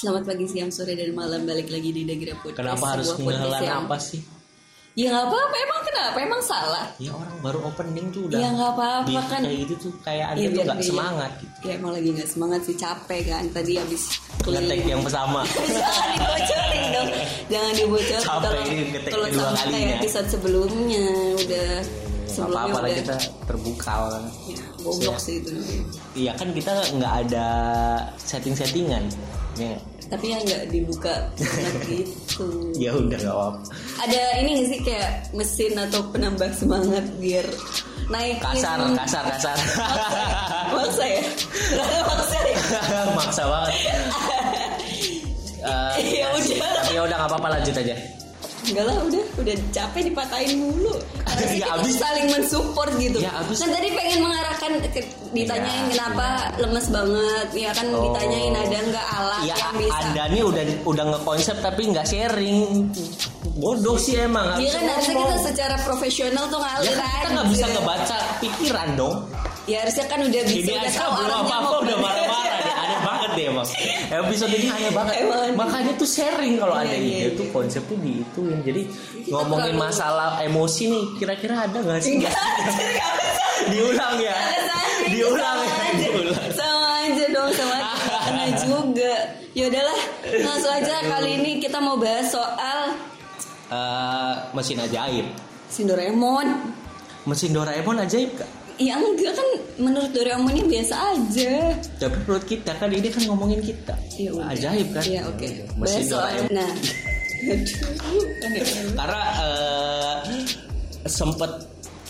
Selamat pagi, siang, sore, dan malam balik lagi di Dagira Podcast. Kenapa harus sebuah podcast ngehelan yang- apa sih? Ya nggak apa-apa, emang kenapa? Emang salah? Ya orang baru opening tuh udah. Ya nggak apa-apa di- kan. Kayak gitu tuh kayak anda Iya, tuh biar nggak dia- semangat gitu. Ya emang lagi nggak semangat sih, capek kan. Tadi habis Ngetek ya. yang bersama. Jangan dibocorin dong. Jangan dibocorin. Capek Tolong- ini ngetik tolong kedua sama kalinya. kayak episode sebelumnya udah Gak sebelumnya apa-apa lah udah- kita terbuka kan. Ya, goblok sih itu namanya. Iya kan kita nggak ada setting-settingan. Ya, Tapi ya nggak dibuka banget gitu. ya udah nggak apa-apa. ada ini nggak sih kayak mesin atau penambah semangat biar naik gitu? Kasar, kasar, kasar. maksa ya Nggak ada maksa ya Maksa banget. Eh, Ya udah. Tapi ya udah nggak apa-apa lanjut aja. enggak lah udah udah capek dipatahin mulu Harusnya Ya, kita abis- saling mensupport gitu Ya, abis- kan tadi pengen mengarahkan ke- ditanyain Ya, kenapa lemes banget ya kan Oh. ditanyain ada nggak alat Ya yang bisa Anda nih udah udah ngekonsep tapi nggak sharing. Bodoh sih Iya emang. harusnya kan harusnya ngomong. kita secara profesional tuh Ya ngalir kan kita aja. nggak bisa ngebaca pikiran dong. Ya harusnya kan udah bisa Gini udah aja tahu belum arahnya apa apa mau udah kemana. marah-marah deh. Aneh banget deh emang. Episode ini aneh banget. Emang aneh. Makanya tuh sharing kalau ada Iya, iya, ide iya. tuh konsep tuh diituin. Jadi Kita ngomongin terlalu- masalah emosi nih kira-kira ada nggak sih? Enggak, jadi nggak bisa. Diulang ya. Diulang Sama ya. aja. Diulang. sama aja dong sama aja Karena juga ya udahlah langsung aja kali ini kita mau bahas soal Eh, mesin ajaib. si Doraemon Mesin Doraemon ajaib gak? ya enggak kan menurut Doraemon ini biasa aja Tapi menurut kita kan ini kan ngomongin kita. ya udah. Ajaib kan? ya oke Mesin bahas soal Doraemon. nah Aduh, kan ya. Karena eh, sempet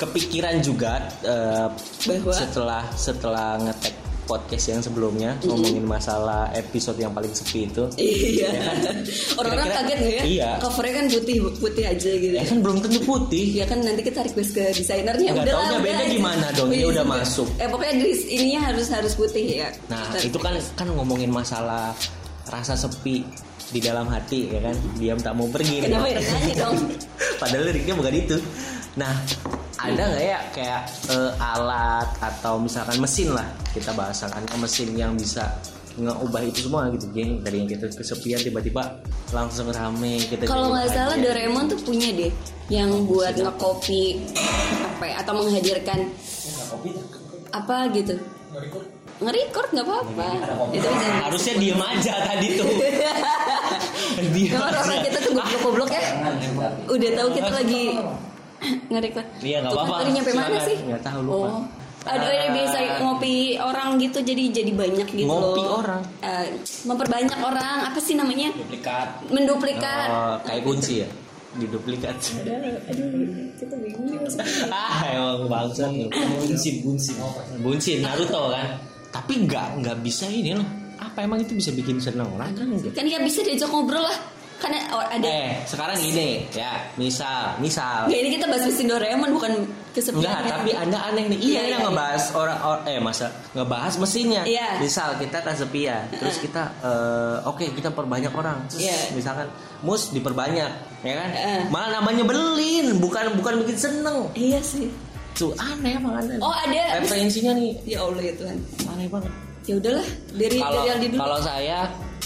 kepikiran juga eh, Bahwa? setelah setelah ngetek podcast yang sebelumnya ngomongin masalah episode yang paling sepi itu. iya orang-orang Ya kan? Kira-kira- kaget nggak ya Iya. covernya kan putih putih aja gitu Ya kan belum tentu putih. Ya kan nanti kita request ke desainernya Nggak Udahlah, taunya udah beda gimana dong, ini udah masuk. Eh pokoknya di ininya harus harus putih ya. Nah, Bentar. itu kan kan ngomongin masalah rasa sepi di dalam hati ya kan. Diam tak mau pergi. Kenapa ya nanya dong? Padahal liriknya bukan itu. Nah, ada nggak ya kayak eh, alat atau misalkan mesin lah kita bahasakannya mesin yang bisa ngeubah itu semua gitu geng dari yang kita kesepian tiba-tiba langsung rame kita Kalau jadi nggak salah bahagia. Doraemon tuh punya deh yang buat ngekopi apa ya, atau menghadirkan apa gitu. Nge-record nggak apa-apa. Itu bisa. harusnya diem aja tadi tuh diem Cuma aja orang kita tuh goblok-goblok ya. Udah tahu kita lagi nge-record. Iya, nggak Tuh kan apa-apa. Tadi nyampe mana Silakan. sih? Nggak tahu, lupa. Oh. Aduh, ya biasa ngopi orang gitu jadi jadi banyak gitu Ngopi loh. orang? Eh, memperbanyak orang. Apa sih namanya? duplikat Menduplikat. Oh, kayak kunci ya diduplikat Kita bingung. ah emang bangsa bunsin bunsin bunsin Naruto kan tapi nggak nggak bisa ini loh apa emang itu bisa bikin seneng orang kan enggak Kan ya bisa diajak ngobrol lah. Karena oh, ada eh sekarang gini ya misal misal Nggak, ini kita bahas mesin Doraemon bukan kesepian. ya. Enggak, Eh. tapi anda aneh nih. kan? Iya, Iya, yang iya. ngebahas orang, or- eh masa ngebahas mesinnya. Iya. Misal kita kesepian, terus kita eh, oke kita perbanyak orang. Terus Iya. misalkan mus diperbanyak, ya kan? Heeh. Malah namanya belin, bukan bukan bikin seneng. Iya sih. Tuh aneh emang aneh. Oh, Eh, ada. Referensinya nih Ya Allah ya Tuhan. aneh banget. Ya udahlah, dari Kalau dari Aldi dulu. kalau saya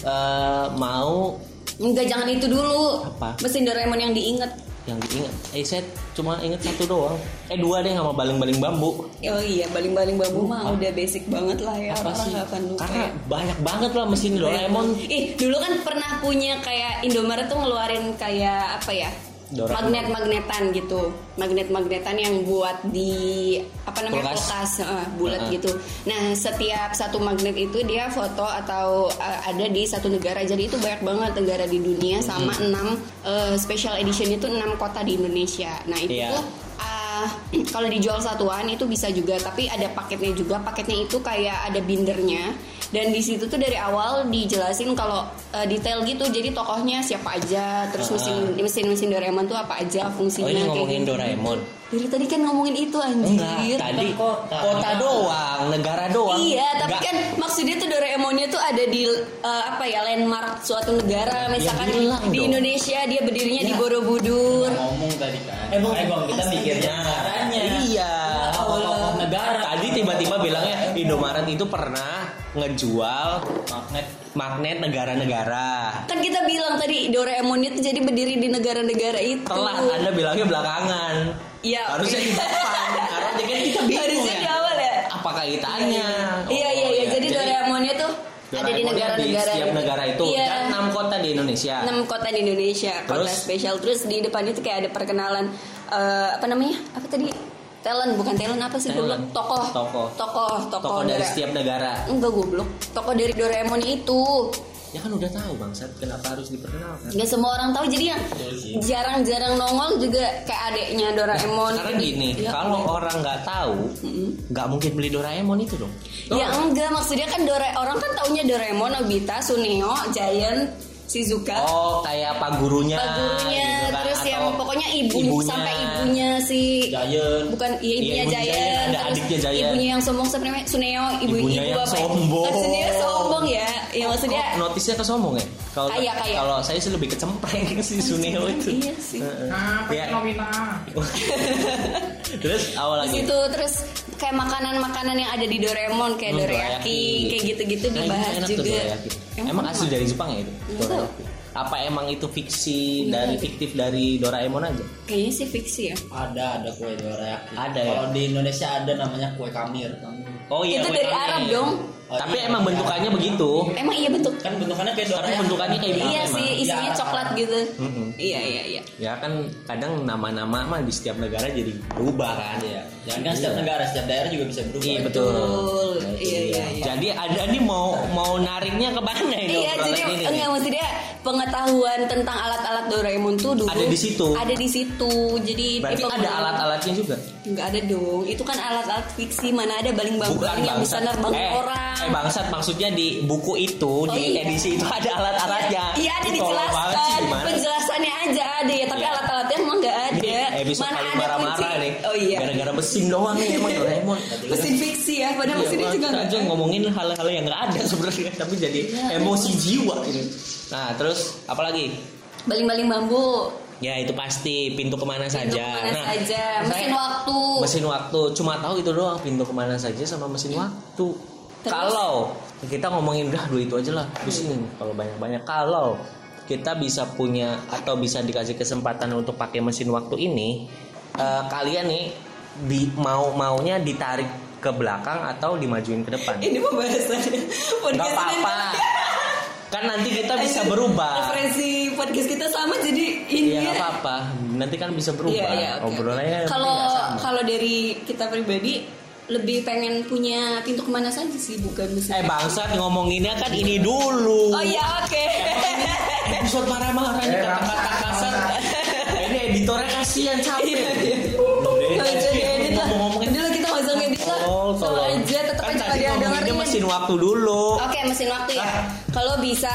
eh, mau Enggak, jangan itu dulu. Apa? Mesin Doraemon yang diinget. yang diingat, eh saya cuma inget satu doang. Eh dua deh sama baling-baling bambu. Oh iya, baling-baling bambu mah udah basic banget lah ya. Apa Orang sih? nggak akan lupa. Karena ya. Iya. banyak banget lah mesin Doraemon Ih, dulu kan pernah punya kayak Indomaret tuh ngeluarin kayak apa ya? Doraemon. Magnet-magnetan gitu. Magnet-magnetan yang buat di apa namanya? Kulkas. kulkas, eh, bulat Heeh. gitu. Nah, setiap satu magnet itu dia foto atau eh, ada di satu negara. Jadi itu banyak banget negara di dunia sama Hmm. enam eh, special edition itu enam kota di Indonesia. Nah, itu Iya. tuh Ah, kalau dijual satuan itu bisa juga tapi ada paketnya juga paketnya itu kayak ada bindernya dan di situ tuh dari awal dijelasin kalau eh, detail gitu jadi tokohnya siapa aja terus Ah. mesin mesin mesin Doraemon tuh apa aja Oh fungsinya ini kayak ngomongin gitu. Doraemon dari tadi kan ngomongin itu anjir Enggak, tadi kota, doang, negara doang Iya, tapi Enggak. kan maksudnya tuh Doraemonnya tuh ada di eh, apa ya landmark suatu negara, misalkan Ya, bilang di dong. Indonesia dia berdirinya di Ya. Borobudur. ngomong tadi kan Emang- emang kita mikirnya caranya Iya tokoh-tokoh Gara. Tadi tiba-tiba bilangnya Iya. Indomaret itu pernah ngejual magnet magnet negara-negara. Kan kita bilang tadi Doraemon itu jadi berdiri di negara-negara itu. Telat Anda bilangnya belakangan. Iya. Harusnya di depan. Karena jadi kan kita bingung Harusnya di ya. awal ya. Apa kaitannya? Iya iya iya. Jadi Doraemonnya tuh ada di Oh, Doraemonnya negara-negara setiap negara itu Iya. dan enam kota di Indonesia. enam kota di Indonesia kota Terus? spesial terus di depannya tuh kayak ada perkenalan eh, apa namanya apa tadi talent bukan talent apa sih goblok Talent. tokoh Tokoh. tokoh tokoh Tokoh dari Dora- setiap negara. enggak goblok tokoh dari Doraemon itu Ya kan udah tahu bangsat kenapa harus diperkenalkan. nggak semua orang tahu jadi yang Iya. jarang-jarang nongol juga kayak adeknya Doraemon Karena gini, Iya. kalau orang nggak tahu, nggak mungkin beli Doraemon itu dong. Ya enggak maksudnya kan Dora orang kan taunya Doraemon, Nobita, Suneo, Giant, Shizuka. Oh, kayak pak gurunya, Pak gurunya, gitu kan, terus atau yang pokoknya ibu ibunya. sampai ibunya si giant bukan iya ibunya ibunya Giant, Giant, ada terus adiknya Giant. ibunya yang sombong siapa namanya? Suneo, ibu Ibunya ibu yang apa? ya? sombong. Ah, Suneo sombong ya. Ya maksudnya Kok notisnya ke sombong ya? Kalau Kaya, kaya. kalau saya sih lebih kecempreng si Suneo itu. Iya sih. Heeh. nah Ya. Nobita Terus awal Terus lagi. itu terus kayak makanan-makanan yang ada di Doraemon kayak Hmm, dorayaki, dorayaki. kayak gitu-gitu Nah, dibahas ini enak tuh juga. dorayaki. Emang asli dari Jepang ya itu? Nggak Dorayaki. Apa emang itu fiksi Nggak dari tahu. fiktif dari Doraemon aja? Kayaknya sih fiksi ya. ada ada kue dorayaki Ada ya? kalau di Indonesia ada namanya kue kamir Oh iya. Itu kue dari kami. Arab dong. Oh, Tapi iya, emang iya. bentukannya begitu. Emang iya bentuk kan bentukannya kayak Tapi dorayaki bentukannya kayak gitu Iya Emang. Ya, sih, isinya Iya. coklat gitu. Mm-mm. Iya iya iya. Ya kan kadang nama-nama mah di setiap negara jadi berubah kan Iya. Jangan kan setiap Iya. negara, setiap daerah juga bisa berubah. Iya betul. Betul. Iya iya iya. Jadi ada nih mau mau nariknya ke mana ini? Iya, obrolan jadi ini nih? enggak maksudnya pengetahuan tentang alat-alat Doraemon tuh dulu Ada di situ. Ada di situ. Jadi Berarti tipe- ada alat-alatnya juga. Enggak ada dong. Itu kan alat-alat fiksi, mana ada baling-baling yang bisa bangsat. nerbang eh, orang. Eh bangsat maksudnya di buku itu di iya. edisi itu ada alat-alatnya. Iya ada ya. Itu tolol banget sih, dijelaskan gimana? Penjelasannya aja ada ya Tapi Iya. alat-alatnya emang nggak Ini ada Episode Mana ada paling kunci marah-marah nih. Oh iya Gara-gara mesin doang nih emang Doraemon. Mesin fiksi ya Padahal Iya, mesinnya juga kita nggak Iya, aja ngomongin hal-hal yang nggak ada sebenarnya tapi jadi emosi jiwa ini. Nah terus apalagi? Baling-baling bambu Ya itu pasti pintu kemana Pintu saja. kemana nah, saja mesin saya- waktu mesin waktu cuma tahu itu doang pintu kemana saja sama mesin waktu Terus? kalau kita ngomongin udah dua itu aja lah pusing kalau banyak banyak kalau kita bisa punya atau bisa dikasih kesempatan untuk pakai mesin waktu ini eh, kalian nih di mau maunya ditarik ke belakang atau dimajuin ke depan ini pembahasannya nggak podcast ini- apa-apa kan nanti kita bisa berubah referensi podcast kita sama jadi ini Iya ya. nggak apa-apa nanti kan bisa berubah Iya, iya, oke, oke. obrolannya nanti kalau nggak sama. kalau dari kita pribadi lebih pengen punya pintu kemana saja sih bukan mesin eh bangsat ngomonginnya kan ini dulu oh ya oke episode marah-marah Eh, nih kata-kata kasar ini editornya kasihan capek Iya, Nggak usah diedit lah Ngomong-ngomongin- dulu kita nggak usah ngedit lah Oh, sama tolong. aja tetap kan aja tadi ada ngomonginnya dengerin mesin waktu Ah. dulu Oke mesin waktu ya. Kalau bisa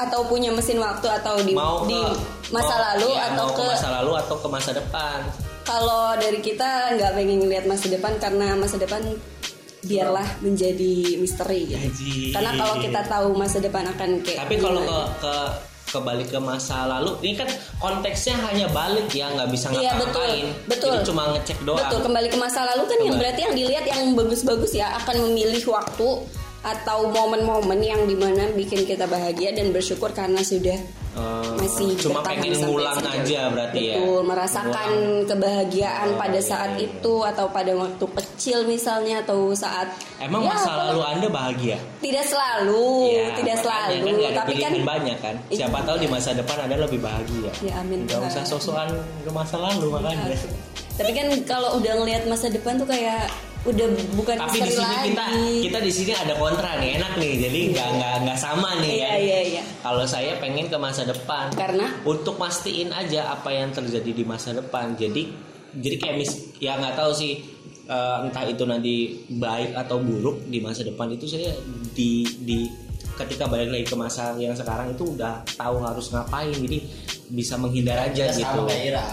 atau punya mesin waktu atau di mau di ke- masa mau- lalu iya, atau mau ke, masa lalu atau ke masa depan kalau dari kita nggak pengen lihat masa depan karena masa depan biarlah menjadi misteri gitu. Anjir. Karena kalau kita tahu masa depan akan kayak tapi kalau ke gimana. ke kebalik ke masa lalu ini kan konteksnya hanya balik ya nggak bisa Iya, ngapa-ngapain betul, betul. Jadi cuma ngecek doang Betul, kembali ke masa lalu kan yang Kembali. berarti yang dilihat yang bagus-bagus ya akan memilih waktu atau momen-momen yang dimana bikin kita bahagia dan bersyukur karena sudah Eh, masih cuma bertahan pengen sampai ngulang sekarang. aja berarti ya Oh, iya, Betul, merasakan kebahagiaan pada saat itu atau pada waktu kecil misalnya atau saat emang Ya, masa kalau- lalu anda bahagia tidak selalu, Iya, tidak makanya selalu, kan nggak ada tapi kan pilihan banyak kan siapa tahu di masa depan ada lebih bahagia Ya, amin. Iya, nggak usah sosokan ke masa lalu makanya tapi kan kalau udah ngelihat masa depan tuh kayak udah bukan tapi misteri di lagi. sini kita kita di sini ada kontra nih enak nih jadi nggak nggak nggak sama nih Iya, kan iya, iya. kalau saya pengen ke masa depan Karena untuk mastiin aja apa yang terjadi di masa depan jadi jadi kayak mis ya nggak tahu sih eh, entah itu nanti baik atau buruk di masa depan itu saya di di ketika balik lagi ke masa yang sekarang itu udah tahu harus ngapain jadi bisa menghindar aja Kita gitu sama kayak Ira.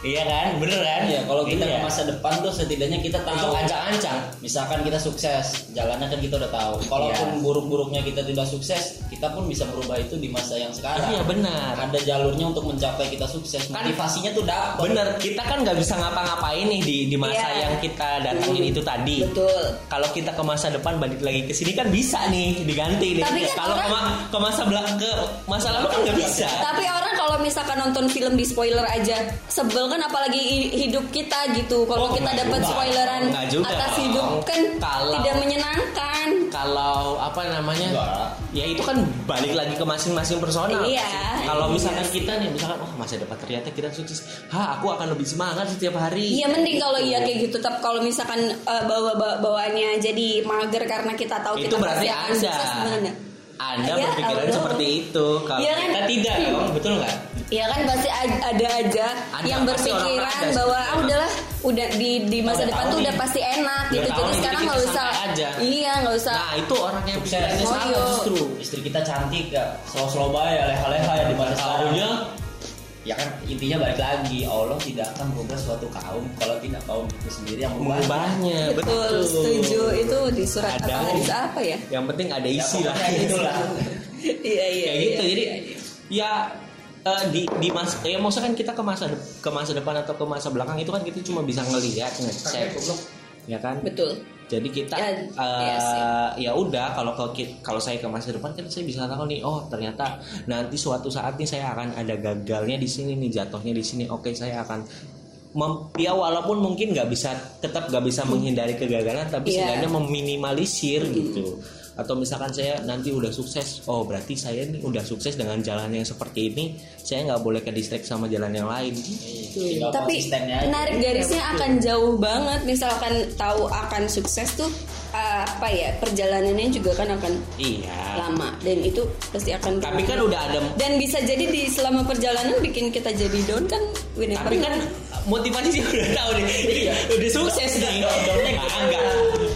iya kan bener kan Iya, kalau kita Iya. ke masa depan tuh setidaknya kita untuk tahu. ancang-ancang Misalkan kita sukses, jalannya kan kita udah tahu. Kalaupun Iya. buruk-buruknya kita tidak sukses, kita kita pun bisa merubah itu di masa yang sekarang Iya benar. ada jalurnya untuk mencapai kita sukses Kan- motivasinya tuh dapet Bener, kita kan nggak bisa ngapa-ngapain nih di di masa Iya. yang kita datangin itu tadi. Betul. Kalau kita ke masa depan balik lagi ke sini kan bisa nih diganti nih. Tapi kan Kalau ke, orang- ma- ke masa belak ke masa lalu kan nggak bisa. Tapi orang kalau misalkan nonton film di spoiler aja sebel kan apalagi i- hidup kita gitu. Kalau Oh, kita nggak dapat juga. spoileran Nggak juga. atas hidup kan Kalau- tidak menyenangkan. Kalau apa namanya? Enggak. Ya itu kan balik lagi ke masing-masing personal. Iya. Kalau misalkan kita nih misalkan wah masa depan ternyata kita sukses. Hah, aku akan lebih semangat setiap hari. Iya mending kalau iya kayak gitu. Tapi kalau misalkan eh, bawa bawa- bawaannya jadi mager karena kita tahu itu kita berarti pasti akan Anda. sukses, gimana? Anda Ya berpikiran Allah. seperti itu. Kalau Iya kan? kita tidak, dong, betul nggak? Iya kan pasti a- ada aja Ada, yang pasti orang-orang berpikiran ada bahwa seperti ah itu. udahlah udah di di masa Udah depan tahu tuh nih. udah pasti enak Udah gitu. tahu Jadi nih, sekarang kita nggak usah santai aja. iya nggak usah. Nah itu orang yang pikirannya Oh, salah iya. justru. istri kita cantik ya slow-slow ya leha-leha ya di masa sekarang Tahunya ya kan intinya balik lagi Allah tidak akan merubah suatu kaum kalau tidak kaum itu sendiri yang merubah mengubahnya. Betul, setuju itu di surat ya, Ada. atau hadis apa ya? Yang penting ada isi lah. itulah iya gitu iya. Kayak iya. gitu. Jadi ya eh, di di mas ya maksudnya kan kita ke masa de- ke masa depan atau ke masa belakang itu kan kita cuma bisa ngelihat ngecek ya kan Betul. jadi kita Ya, eh, iya sih. ya udah kalau kalau ki- kalau saya ke masa depan kan saya bisa tahu nih oh ternyata nanti suatu saat nih saya akan ada gagalnya di sini nih jatuhnya di sini oke saya akan mem- ya walaupun mungkin nggak bisa tetap nggak bisa menghindari kegagalan tapi Iya. setidaknya meminimalisir gitu atau misalkan saya nanti udah sukses oh berarti saya nih udah sukses dengan jalan yang seperti ini saya nggak boleh ke distract sama jalan yang lain Iya, Tinggal Iya. Hmm, Tapi konsistennya aja. menarik garisnya Iya, akan jauh banget misalkan tahu akan sukses tuh eh, apa ya perjalanannya juga kan akan iya lama dan itu pasti akan tapi kan berubah. udah ada dan bisa jadi di selama perjalanan bikin kita jadi down kan we never tapi kan know. motivasi sih udah tahu nih udah sukses nih Ah, enggak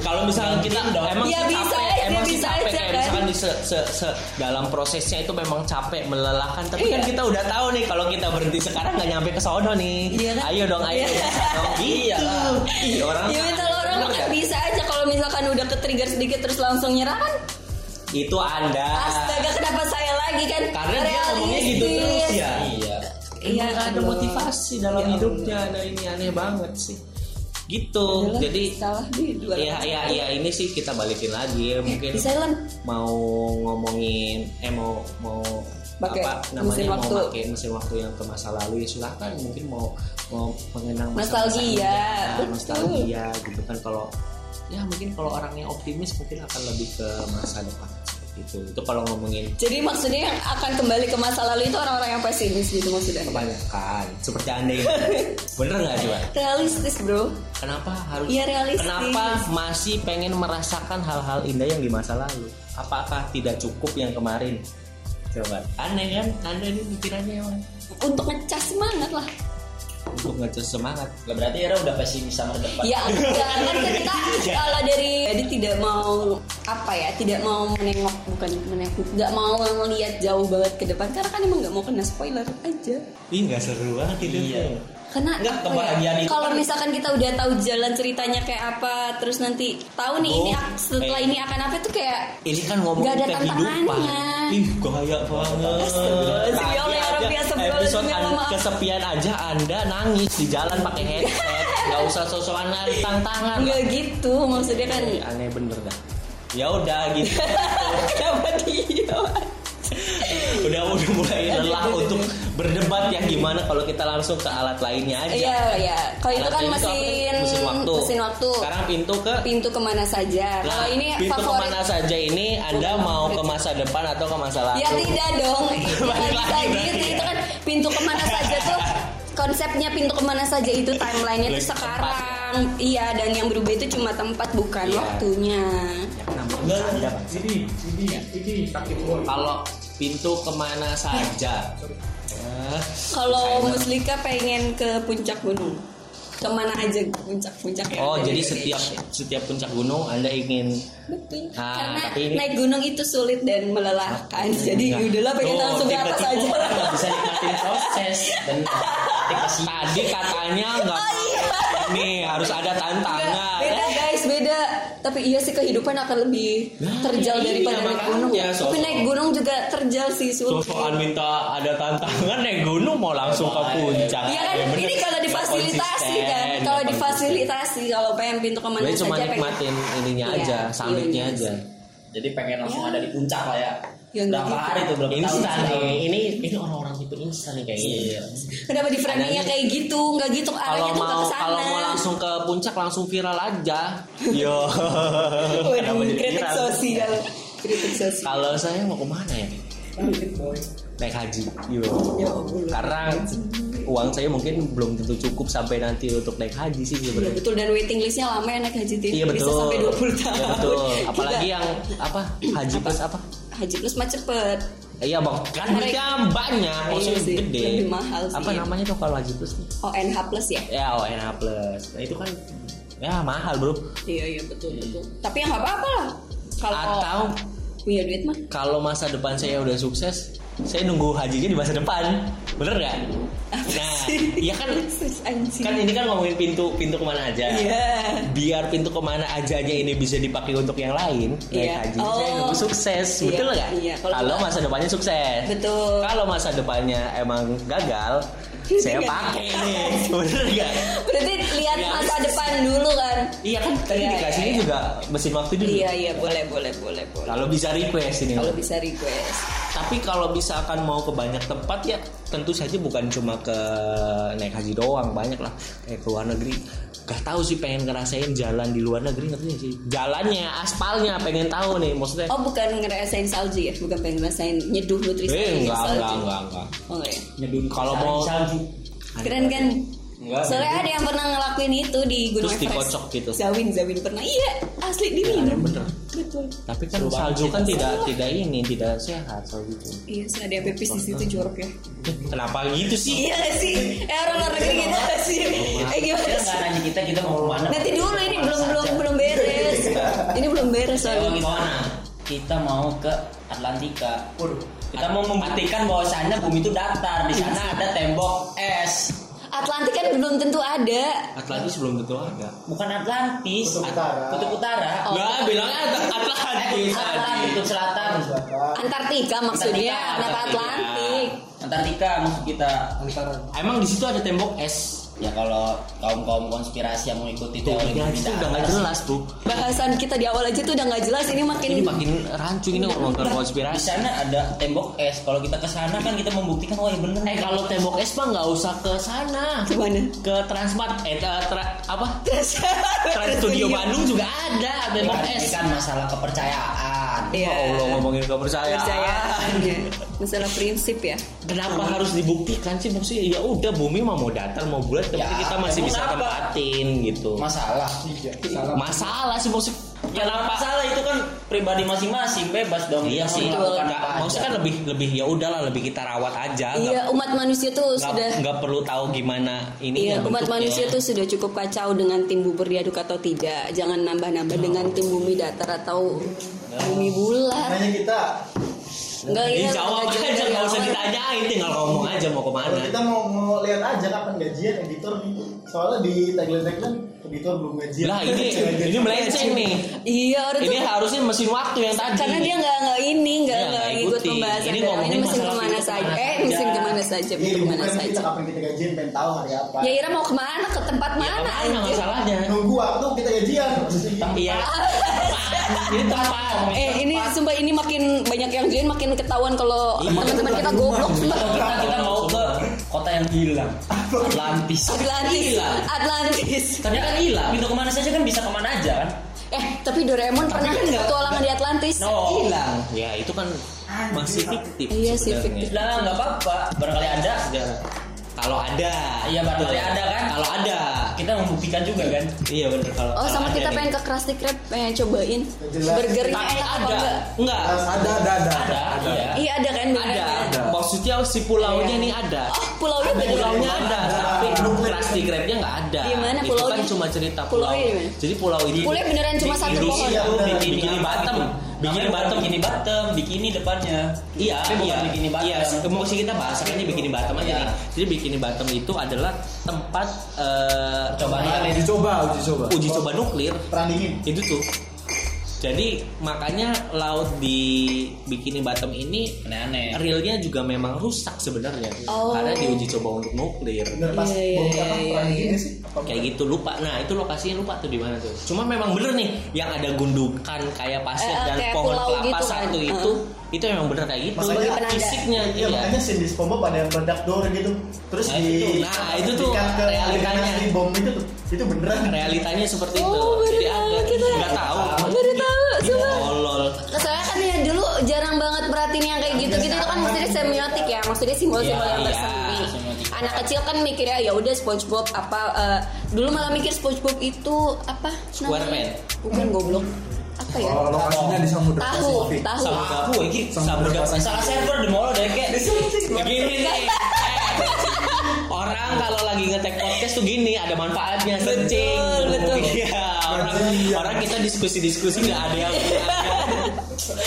kalau misalnya kita Iya. emang Ya, sih bisa capek aja, emang sih bisa capek aja, kayak kan? misalkan di se- se- se- dalam prosesnya itu memang capek melelahkan tapi kan Iya. kita udah tahu nih kalau kita berhenti sekarang nggak nyampe ke sono nih Iya kan? ayo dong ayo Iya. dong iya orang ya kalau orang Bener kan nggak? bisa aja kalau misalkan udah ke trigger sedikit terus langsung nyerah kan itu anda astaga kenapa saya lagi kan Ah. karena dia ngomongnya gitu Realistis. terus ya iya Iya, Iya ada aduh. motivasi dalam Ya hidupnya. Nah ini aneh banget sih. Gitu. Adalah Jadi salah di dua Iya iya iya ini sih kita balikin lagi ya mungkin bisa Lan. mau ngomongin eh mau mau Pakai apa mesin namanya mau waktu. pakai mesin waktu yang ke masa lalu ya silahkan mungkin mau mau mengenang masa Nostalgia, betul. nostalgia gitu kan kalau ya mungkin kalau orangnya optimis mungkin akan lebih ke masa depan gitu itu kalau ngomongin jadi maksudnya yang akan kembali ke masa lalu itu orang-orang yang pesimis gitu maksudnya kebanyakan seperti anda ini bener nggak coba realistis bro Kenapa harus? Iya, realistis. Kenapa masih pengen merasakan hal-hal indah yang di masa lalu? Apakah tidak cukup yang kemarin? Coba. Aneh kan? Anda ini pikirannya emang untuk ngecas semangat lah untuk ngecas semangat. Gak berarti Era udah pesimis sama depan Ya enggak kan kita kalau dari jadi tidak mau apa ya tidak mau menengok bukan menengok nggak mau melihat jauh banget ke depan karena kan emang nggak mau kena spoiler aja Ih nggak seru banget itu. Iya. karena apa Nggak, ya, kebahagiaan itu kalau kan- misalkan kita udah tahu jalan ceritanya kayak apa terus nanti tahu nih ini Oh, ak- setelah eh. ini akan apa tuh kayak Ini kan ngomong Nggak ada kehidupan. tantangannya. Iya, Ih gaya banget. Astagfirullahaladzim, ya Allah, ya Rabbi, aja astagfirullahaladzim, Iya, episode ya an- Allah, maaf. kesepian aja Anda nangis di jalan pakai headset. Gak usah sosokan lari tantangan. nggak gitu maksudnya kan Ih, Aneh bener dah. Ya udah gitu. kenapa dia udah udah mulai Iya, lelah gitu. untuk berdebat ya gimana kalau kita langsung ke alat lainnya aja. iya ya kalau itu Alat kan lain apa mesin sih? mesin waktu. mesin waktu. Sekarang pintu ke pintu kemana saja Nah, kalau ini pintu favorit kemana saja ini Anda mau ke masa depan atau ke masa lalu? Ya tidak dong, Balik nggak bisa gitu. lagi berarti ya. Itu kan pintu kemana saja tuh konsepnya pintu kemana saja itu timelinenya Lagi tuh tempat. sekarang. Iya dan yang berubah itu cuma tempat bukan Iya. waktunya. Ya, kenapa Enggak, bisa Anda, Bang? Nah, ini, ini, ini kaki turun. Kalau pintu kemana saja? Eh, Kalau Saya- Muslika pengen ke puncak gunung, kemana aja puncak-puncak yang Oh ada jadi di setiap Indonesia. setiap puncak gunung Anda ingin Betul. Ah, Karena tapi ini- naik gunung itu sulit dan melelahkan. Jadi Enggak. udahlah pengen Tuh, langsung ke atas tiba-tiba aja. orang nggak bisa nikmatin proses dan Tadi katanya nggak Oh iya. Nih harus ada Enggak, tantangan. beda guys, beda. Tapi iya sih kehidupan akan lebih terjal iya, daripada naik makanya, gunung. sosok. Tapi naik gunung juga terjal sih sulit. Sosokan minta ada tantangan naik gunung mau langsung ke puncak. Iya kan, Ya bener. ini kalau difasilitasi Konsisten, ya kan, nggak kalau konsisten. difasilitasi kalau pengen pintu kemana Gue saja. cuma pengen- nikmatin ininya Iya, aja, summitnya iya, aja. Jadi pengen langsung Ya. ada di puncak lah ya. Ya, berapa gitu. hari tuh berapa Instan tahun? nih, ini ini orang-orang tipe instan nih kayaknya. Iya. Kenapa di framingnya Adanya- kayak gitu? Nggak gitu arahnya Kalau tuh nggak mau ke sana. kalau mau langsung ke puncak langsung viral aja. Yo. Kenapa Waduh, jadi kritik viral? sosial. Kritik sosial. Kalau saya mau kemana ya? Naik haji. Yo. Ya Allah. Karena uang saya mungkin belum tentu cukup sampai nanti untuk naik haji sih Iya, sebenarnya. betul dan waiting listnya lama ya naik haji Iya betul. Bisa sampai 20 tahun. Iya betul. Apalagi Gila. yang apa? Haji plus apa? haji plus mah cepet. Iya bang, kan Mereka- duitnya banyak, Iya maksudnya sih, gede. lebih mahal sih. Apa namanya tuh kalau haji plus? nih? ONH plus ya. Ya ONH plus. Nah itu kan ya mahal bro. Iya iya betul betul. Tapi yang nggak apa-apa lah. Kalau Hmm. Atau punya duit mah. kalau masa depan saya udah sukses, saya nunggu hajinya di masa depan, bener nggak? Nah, iya kan Sus, anjing. kan ini kan ngomongin pintu pintu kemana aja. Iya. Biar pintu kemana aja aja ini bisa dipakai untuk yang lain, naik Iya. haji Oh. saya nunggu sukses, Iya, betul nggak? iya. Kalau- Kalau masa depannya sukses. Betul. Kalau masa depannya emang gagal, saya pakai nih, bener nggak? Berarti lihat Iya. masa depan dulu kan. Iya kan tadi Iya, dikasihnya iya. juga mesin waktu dulu. Iya iya boleh boleh boleh boleh. Kalau bisa request ini. Kalau bisa request. Tapi kalau misalkan mau ke banyak tempat ya tentu saja bukan cuma ke naik haji doang banyak lah kayak ke luar negeri. Gak tahu sih pengen ngerasain jalan di luar negeri ngerti nggak sih? Jalannya, aspalnya pengen tahu nih maksudnya. Oh bukan ngerasain salju ya, bukan pengen ngerasain nyeduh nutrisi eh enggak salju. enggak enggak enggak. Oh enggak ya. Nyeduh Kalau mau- salju. Keren kan? Enggak. Soalnya ada yang pernah ngelakuin itu di Gunung Terus Everest. dikocok gitu. Iya, Zawin, Zawin pernah. Iya, asli diminum. bener. Betul. Tapi kan Seru banget salju sih. kan tidak tidak ini tidak sehat gitu. salju itu. Iya, saya ada pipis di situ jorok ya. Kenapa gitu sih? Iya gak sih? Eh orang luar negeri gitu gak sih? Eh gimana Dia nggak sih? nanya kita kita mau kemana? Nanti dulu ini belum Saja. belum belum beres. Ini belum beres Kalau soalnya. gimana? Kita mau ke Atlantika. Kita mau membuktikan bahwasannya bumi itu datar. Di sana ada tembok es. Atlantik kan belum tentu ada. Atlantis belum tentu ada. Bukan Atlantis. Kutub Utara. Kutub Utara. Oh. Enggak, bilangnya At- Atlantis. Eh, Atlantis, Kutub Selatan. Antartika maksudnya, Antartika, kenapa Antartika. Atlantik? Antartika maksud kita. antara Emang di situ ada tembok es. Ya kalau kaum-kaum konspirasi yang mengikuti Tuh, teori ya, bumi itu udah datar. nggak jelas tuh. Bahasan kita di awal aja tuh udah nggak jelas. Ini makin Ini makin rancu ini ngomongin Di konspirasi. sana ada tembok es. Kalau kita ke sana kan kita membuktikan oh ya bener. Eh kalau tembok es mah nggak usah ke sana. gimana? Ke Transmart eh tra- tra- apa? Terus Trans Iya. Studio Iya. Bandung juga ada Ini tembok kan- es. ini kan masalah kepercayaan. Ya Iya. ngomongin kepercayaan. Kepercayaan ya. Masalah prinsip ya. Kenapa harus dibuktikan sih maksudnya ya udah bumi mah mau datar mau bulat tapi Ya, kita masih emang bisa kenapa? tempatin gitu. Masalah. tiga salah Masalah sih maksudnya Ya nggak kenapa? masalah itu kan pribadi masing-masing bebas dong. Iya Kita sih. mau melakukan Nggak, apa aja. Maksudnya kan lebih lebih ya udahlah lebih kita rawat aja. nggak Iya, umat manusia tuh nggak sudah nggak perlu tahu gimana ini kan Iya, umat manusia tuh sudah cukup kacau dengan tim bubur diaduk atau tidak. Jangan nambah-nambah Nah, dengan tim bumi datar atau bumi bulat. hanya kita Enggak iya, udah dijawab Nah, jawab aja dari nggak usah awal. ditanyain tinggal ngomong aja mau kalau kemana kita mau mau lihat aja kapan gajian editor nih soalnya di tagline tagline editor belum gajian lah Nah, ini ini melenceng nih Iya, orang ini tuh harusnya mesin waktu yang tadi karena dia nggak nggak ini nggak Iya, nggak nggak ikut ikuti. pembahasan Ini dari awal. ngomongin ini mesin masalah Ya. kemana pintu saja kemana eh saja. mesin kemana saja Iya, pintu kemana bukan kita saja kapan kita gajian pengen tahu hari apa ya Ira mau kemana ke tempat Ya, mana mana anjir? masalahnya nunggu waktu kita gajian iya ini tempat eh ini sumpah ini makin banyak yang join makin ketahuan kalau Iya, teman-teman kita goblok sumpah. Atau kita kita mau ke kota yang hilang. Atlantis. Atlantis Hilang. Atlantis Tapi kan hilang. Pintu kemana saja kan bisa kemana aja kan. eh tapi Doraemon pernah kan petualangan di Atlantis No. hilang ya itu kan masih fiktif Iya sih, sebenarnya. fiktif. Lah nggak apa-apa. Barangkali ada. Ya, kalau ada Iya, barangkali ada kan? kalau ada Kita membuktikan juga kan. iya bener kalau Oh kalau sama ada gitu. kita nih. pengen ke Krusty Krab pengen cobain Jelas. burgernya tapi enak apa ada enggak enggak ada ada ada Ada. Iya. Iya ada kan ada beneran. maksudnya oh, si pulaunya nih ada. Oh, pulaunya Ada, beneran. pulaunya ada, tapi Brooklyn. plastik grabnya nggak ada. Di mana Itu kan pulaunya? cuma cerita pulau. Pulaunya di mana? Jadi pulau itu Pulaunya beneran cuma satu pohon. Iya, Itu bener. bikini, Bikini Bottom. Bikini Namanya Batem, bukan bikini Batem, bikini depannya. Iya, Tapi bukan iya, bikini Batem. Iya, se- mau sih kita bahas ini bikini Batam aja. Iya. nih. Jadi bikini Batam itu adalah tempat eh, Percobaan. uji coba uji coba uji coba nuklir perandingin itu tuh. Jadi makanya laut di bikini Batam ini Aneh-aneh. realnya juga memang rusak sebenarnya Oh. karena diuji coba untuk nuklir. bener pas Iya, iya, bom iya, apa iya, perandingin iya. sih Apa kayak bukan? gitu lupa nah itu lokasinya lupa tuh di mana tuh cuma memang bener nih yang ada gundukan kayak Eh, pasir eh, dan kayak pohon pulau kelapa gitu kan. satu Heeh. itu itu memang bener kayak gitu Makanya penanda. fisiknya gitu ya? Iya, iya. makanya scene di SpongeBob ada yang meledak door gitu. Terus Nah, di itu tuh. Nah, itu tuh diikat ke realitanya. original si bom itu tuh. Itu beneran. realitanya seperti itu Oh, baru jadi ah, tahu ada kita. nggak tahu Iya. Baru tahu, sumpah. tolol Soalnya kan ya dulu jarang banget perhatiin yang kayak gitu-gitu itu kan maksudnya semiotik ya, maksudnya simbol-simbol Iya, yang iya, tersembunyi. semiotik. Anak kecil kan mikirnya ya udah SpongeBob apa eh, dulu malah mikir SpongeBob itu apa? namanya? Squareman. Bukan goblok. Apa ya? kalau lokasinya di Samudra Tahu, Pasifik tahu. sama aku ini sama Samudra Pasifik. Salah server di mall deh kayak. gini nih Eh, orang kalau lagi ngetek podcast tuh gini ada manfaatnya sencing betul. Iya, orang, Kajian. orang kita diskusi-diskusi nggak ada yang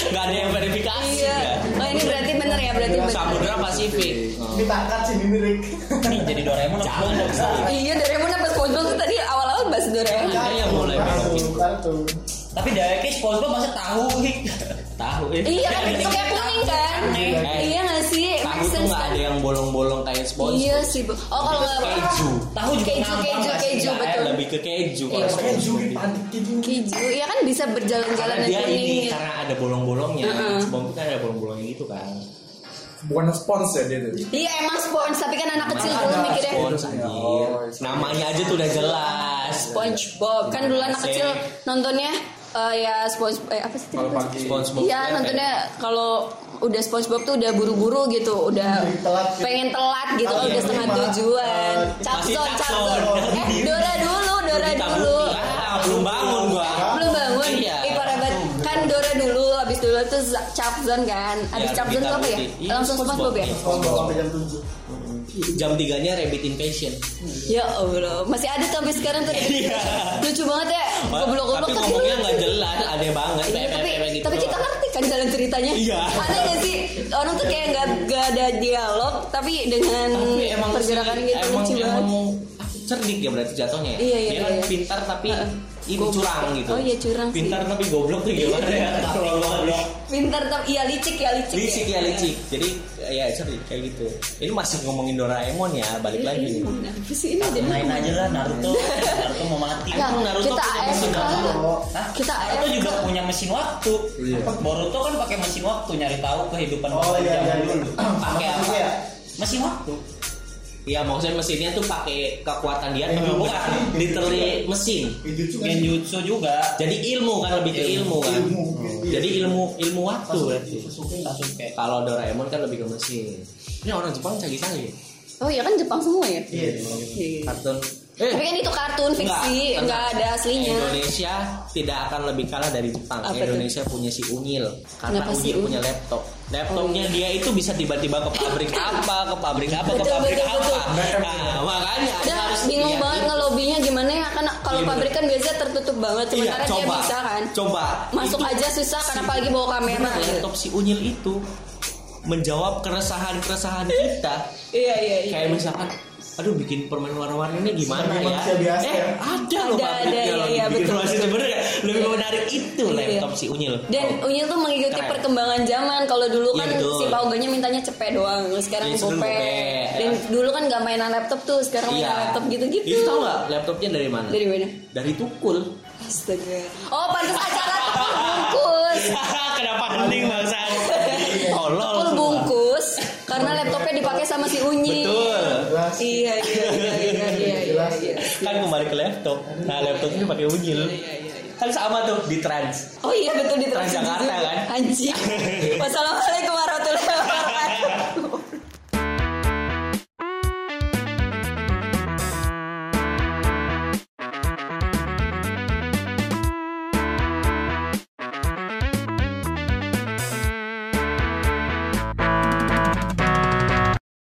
nggak ada yang verifikasi Iya. ya. Oh ini berarti bener ya, berarti bener. Samudra Pasifik. Kita angkat sih ini Rick. Nih, jadi Doraemon apa enggak bisa. Iya, Doraemon apa SpongeBob tuh tadi awal-awal bahas Doraemon. Ada yang mulai Kartu, begitu. kartu. Tapi dari kayak SpongeBob masa tahu Hik. Tahu ya. Iya kan bentuknya kuning kan? Aneh. Iya nggak sih? Eh, Tahu Make tuh sense nggak kan? ada yang bolong-bolong kayak spons. Iya sih, Bu. Oh kalau nggak Keju. Tahu juga Keju, ngambang keju, nggak sih? keju, Nggak betul. ada. Lebih ke keju. Iya, kalau Kayak spons. Zuri panik gitu. Keju, iya kan bisa berjalan-jalan Karena yang dia kuning. ini kan. karena ada bolong-bolongnya. Heeh. Spons kan ada bolong-bolongnya gitu kan. bukan spons ya dia tuh Iya emang spons, tapi kan anak kecil dulu ada mikirnya Spons Iya. anjir. Namanya aja tuh udah jelas. SpongeBob. Kan dulu anak Sih. kecil nontonnya eh, ya Sponge eh, apa sih? kalau tadi? pagi Spons Iya nontonnya kalau udah SpongeBob tuh udah buru-buru gitu, udah Jadi telat gitu. pengen telat gitu, Kalau udah yang setengah lima, tujuan. eh, Capzon, Capzon. capzon. Eh, Dora dulu, Dora Kita dulu. belum- Ah, belum bangun gua. Belum bangun. Iya. Ih, parah banget. Kan Dora dulu, abis dulu tuh Z- Capzon kan. Abis Ya, Capzon Rita tuh apa ya? Putih. Iya, Langsung SpongeBob. SpongeBob ya? Iya. Kalau sampai jam 7. Jam 3-nya Rabbit Invasion. Ya Allah, masih ada tuh sampai sekarang tuh. Iya. Lucu banget ya. Goblok-goblok Tapi tapi ngomongnya lucu. nggak jelas, aneh banget. Iya, tapi Pemen-pemen gitu tapi kita doang. ngerti kan jalan ceritanya. Iya. Aneh gak sih? Orang tuh kayak nggak nggak ada dialog tapi dengan tapi emang pergerakan sih, gitu emang, lucu emang banget. cerdik ya berarti jatuhnya ya Iya, iya, dia kan iya. pintar tapi Heeh. ini Goblok. curang gitu Oh, iya, curang sih. Iya, pintar tapi goblok tuh gimana ya Tolong goblok Pintar tapi iya licik ya licik. licik ya licik jadi ya cerdik kayak gitu ini masih ngomongin Doraemon ya balik Iya, lagi Ini Apa sih ini jadi? Lain aja lah Naruto. Naruto mau mati. Ya, Emang Naruto kita punya AFK. Oh, Hah? Kita kan? Naruto AFK. juga punya mesin waktu. Iya. Boruto kan pakai mesin waktu nyari tahu kehidupan Oh, orang iya, zaman iya, iya. dulu. Pakai apa? Iya. Mesin waktu. ya maksudnya mesinnya tuh pakai kekuatan dia Yang tapi juga. bukan literally mesin Genjutsu kan Genjutsu juga. jadi ilmu kan lebih ke ilmu kan ilmu. jadi ilmu ilmu waktu berarti Sasuke Sasuke. kalau Doraemon kan lebih ke mesin ini orang Jepang canggih-canggih ya? Oh iya kan Jepang semua ya? Iya. Iya, iya. kartun eh Tapi kan itu kartun fiksi, Enggak, nggak ada aslinya. Indonesia tidak akan lebih kalah dari Jepang. Apa tuh? Indonesia punya si Unyil karena Kenapa si Unyil Unyil? punya laptop. Laptopnya Oh, dia itu bisa tiba-tiba ke pabrik apa, ke pabrik apa, ke Betul, pabrik betul, apa. betul. Nah, makanya Udah harus bingung lihat banget itu. ngelobinya gimana ya kan kalau Iya, bener. pabrik kan biasanya tertutup banget Iya, sementara dia coba, bisa kan Coba. masuk Itu aja susah karena apalagi bawa kamera bener, gitu. Laptop si Unyil itu menjawab keresahan-keresahan kita. Iya iya iya. Kayak misalkan aduh bikin permen warna-warni ini gimana Sebagai ya? manusia biasa eh, ya. ada loh Ada, pabriknya ada, loh. iya, iya, Bikin betul. masih sebenarnya lebih menarik itu Iya. laptop si Unyil. Dan Oh. Unyil tuh mengikuti Keren. perkembangan zaman. Kalau dulu Iya, kan betul. si Pauganya mintanya cepet doang, sekarang Iya, sebelum gope. gope. Dan dulu kan gak mainan laptop tuh, sekarang Iya. mainan laptop gitu-gitu. Itu tau nggak laptopnya dari mana? Dari mana? Dari tukul. Astaga. Oh, pantas acara tukul bungkus. Kenapa hening bangsa? Tolol. Iya. Tukul semua. bungkus karena laptopnya dipakai sama si Unyil. Betul. Jelas. Iya, iya, iya, iya, iya, iya, iya. Kan kembali ke laptop. Nah, laptop ini pakai unyil. iya, Kan sama tuh di trans. Oh iya betul di Transjakarta kan? Anjing. Wassalamualaikum warahmatullahi wabarakatuh.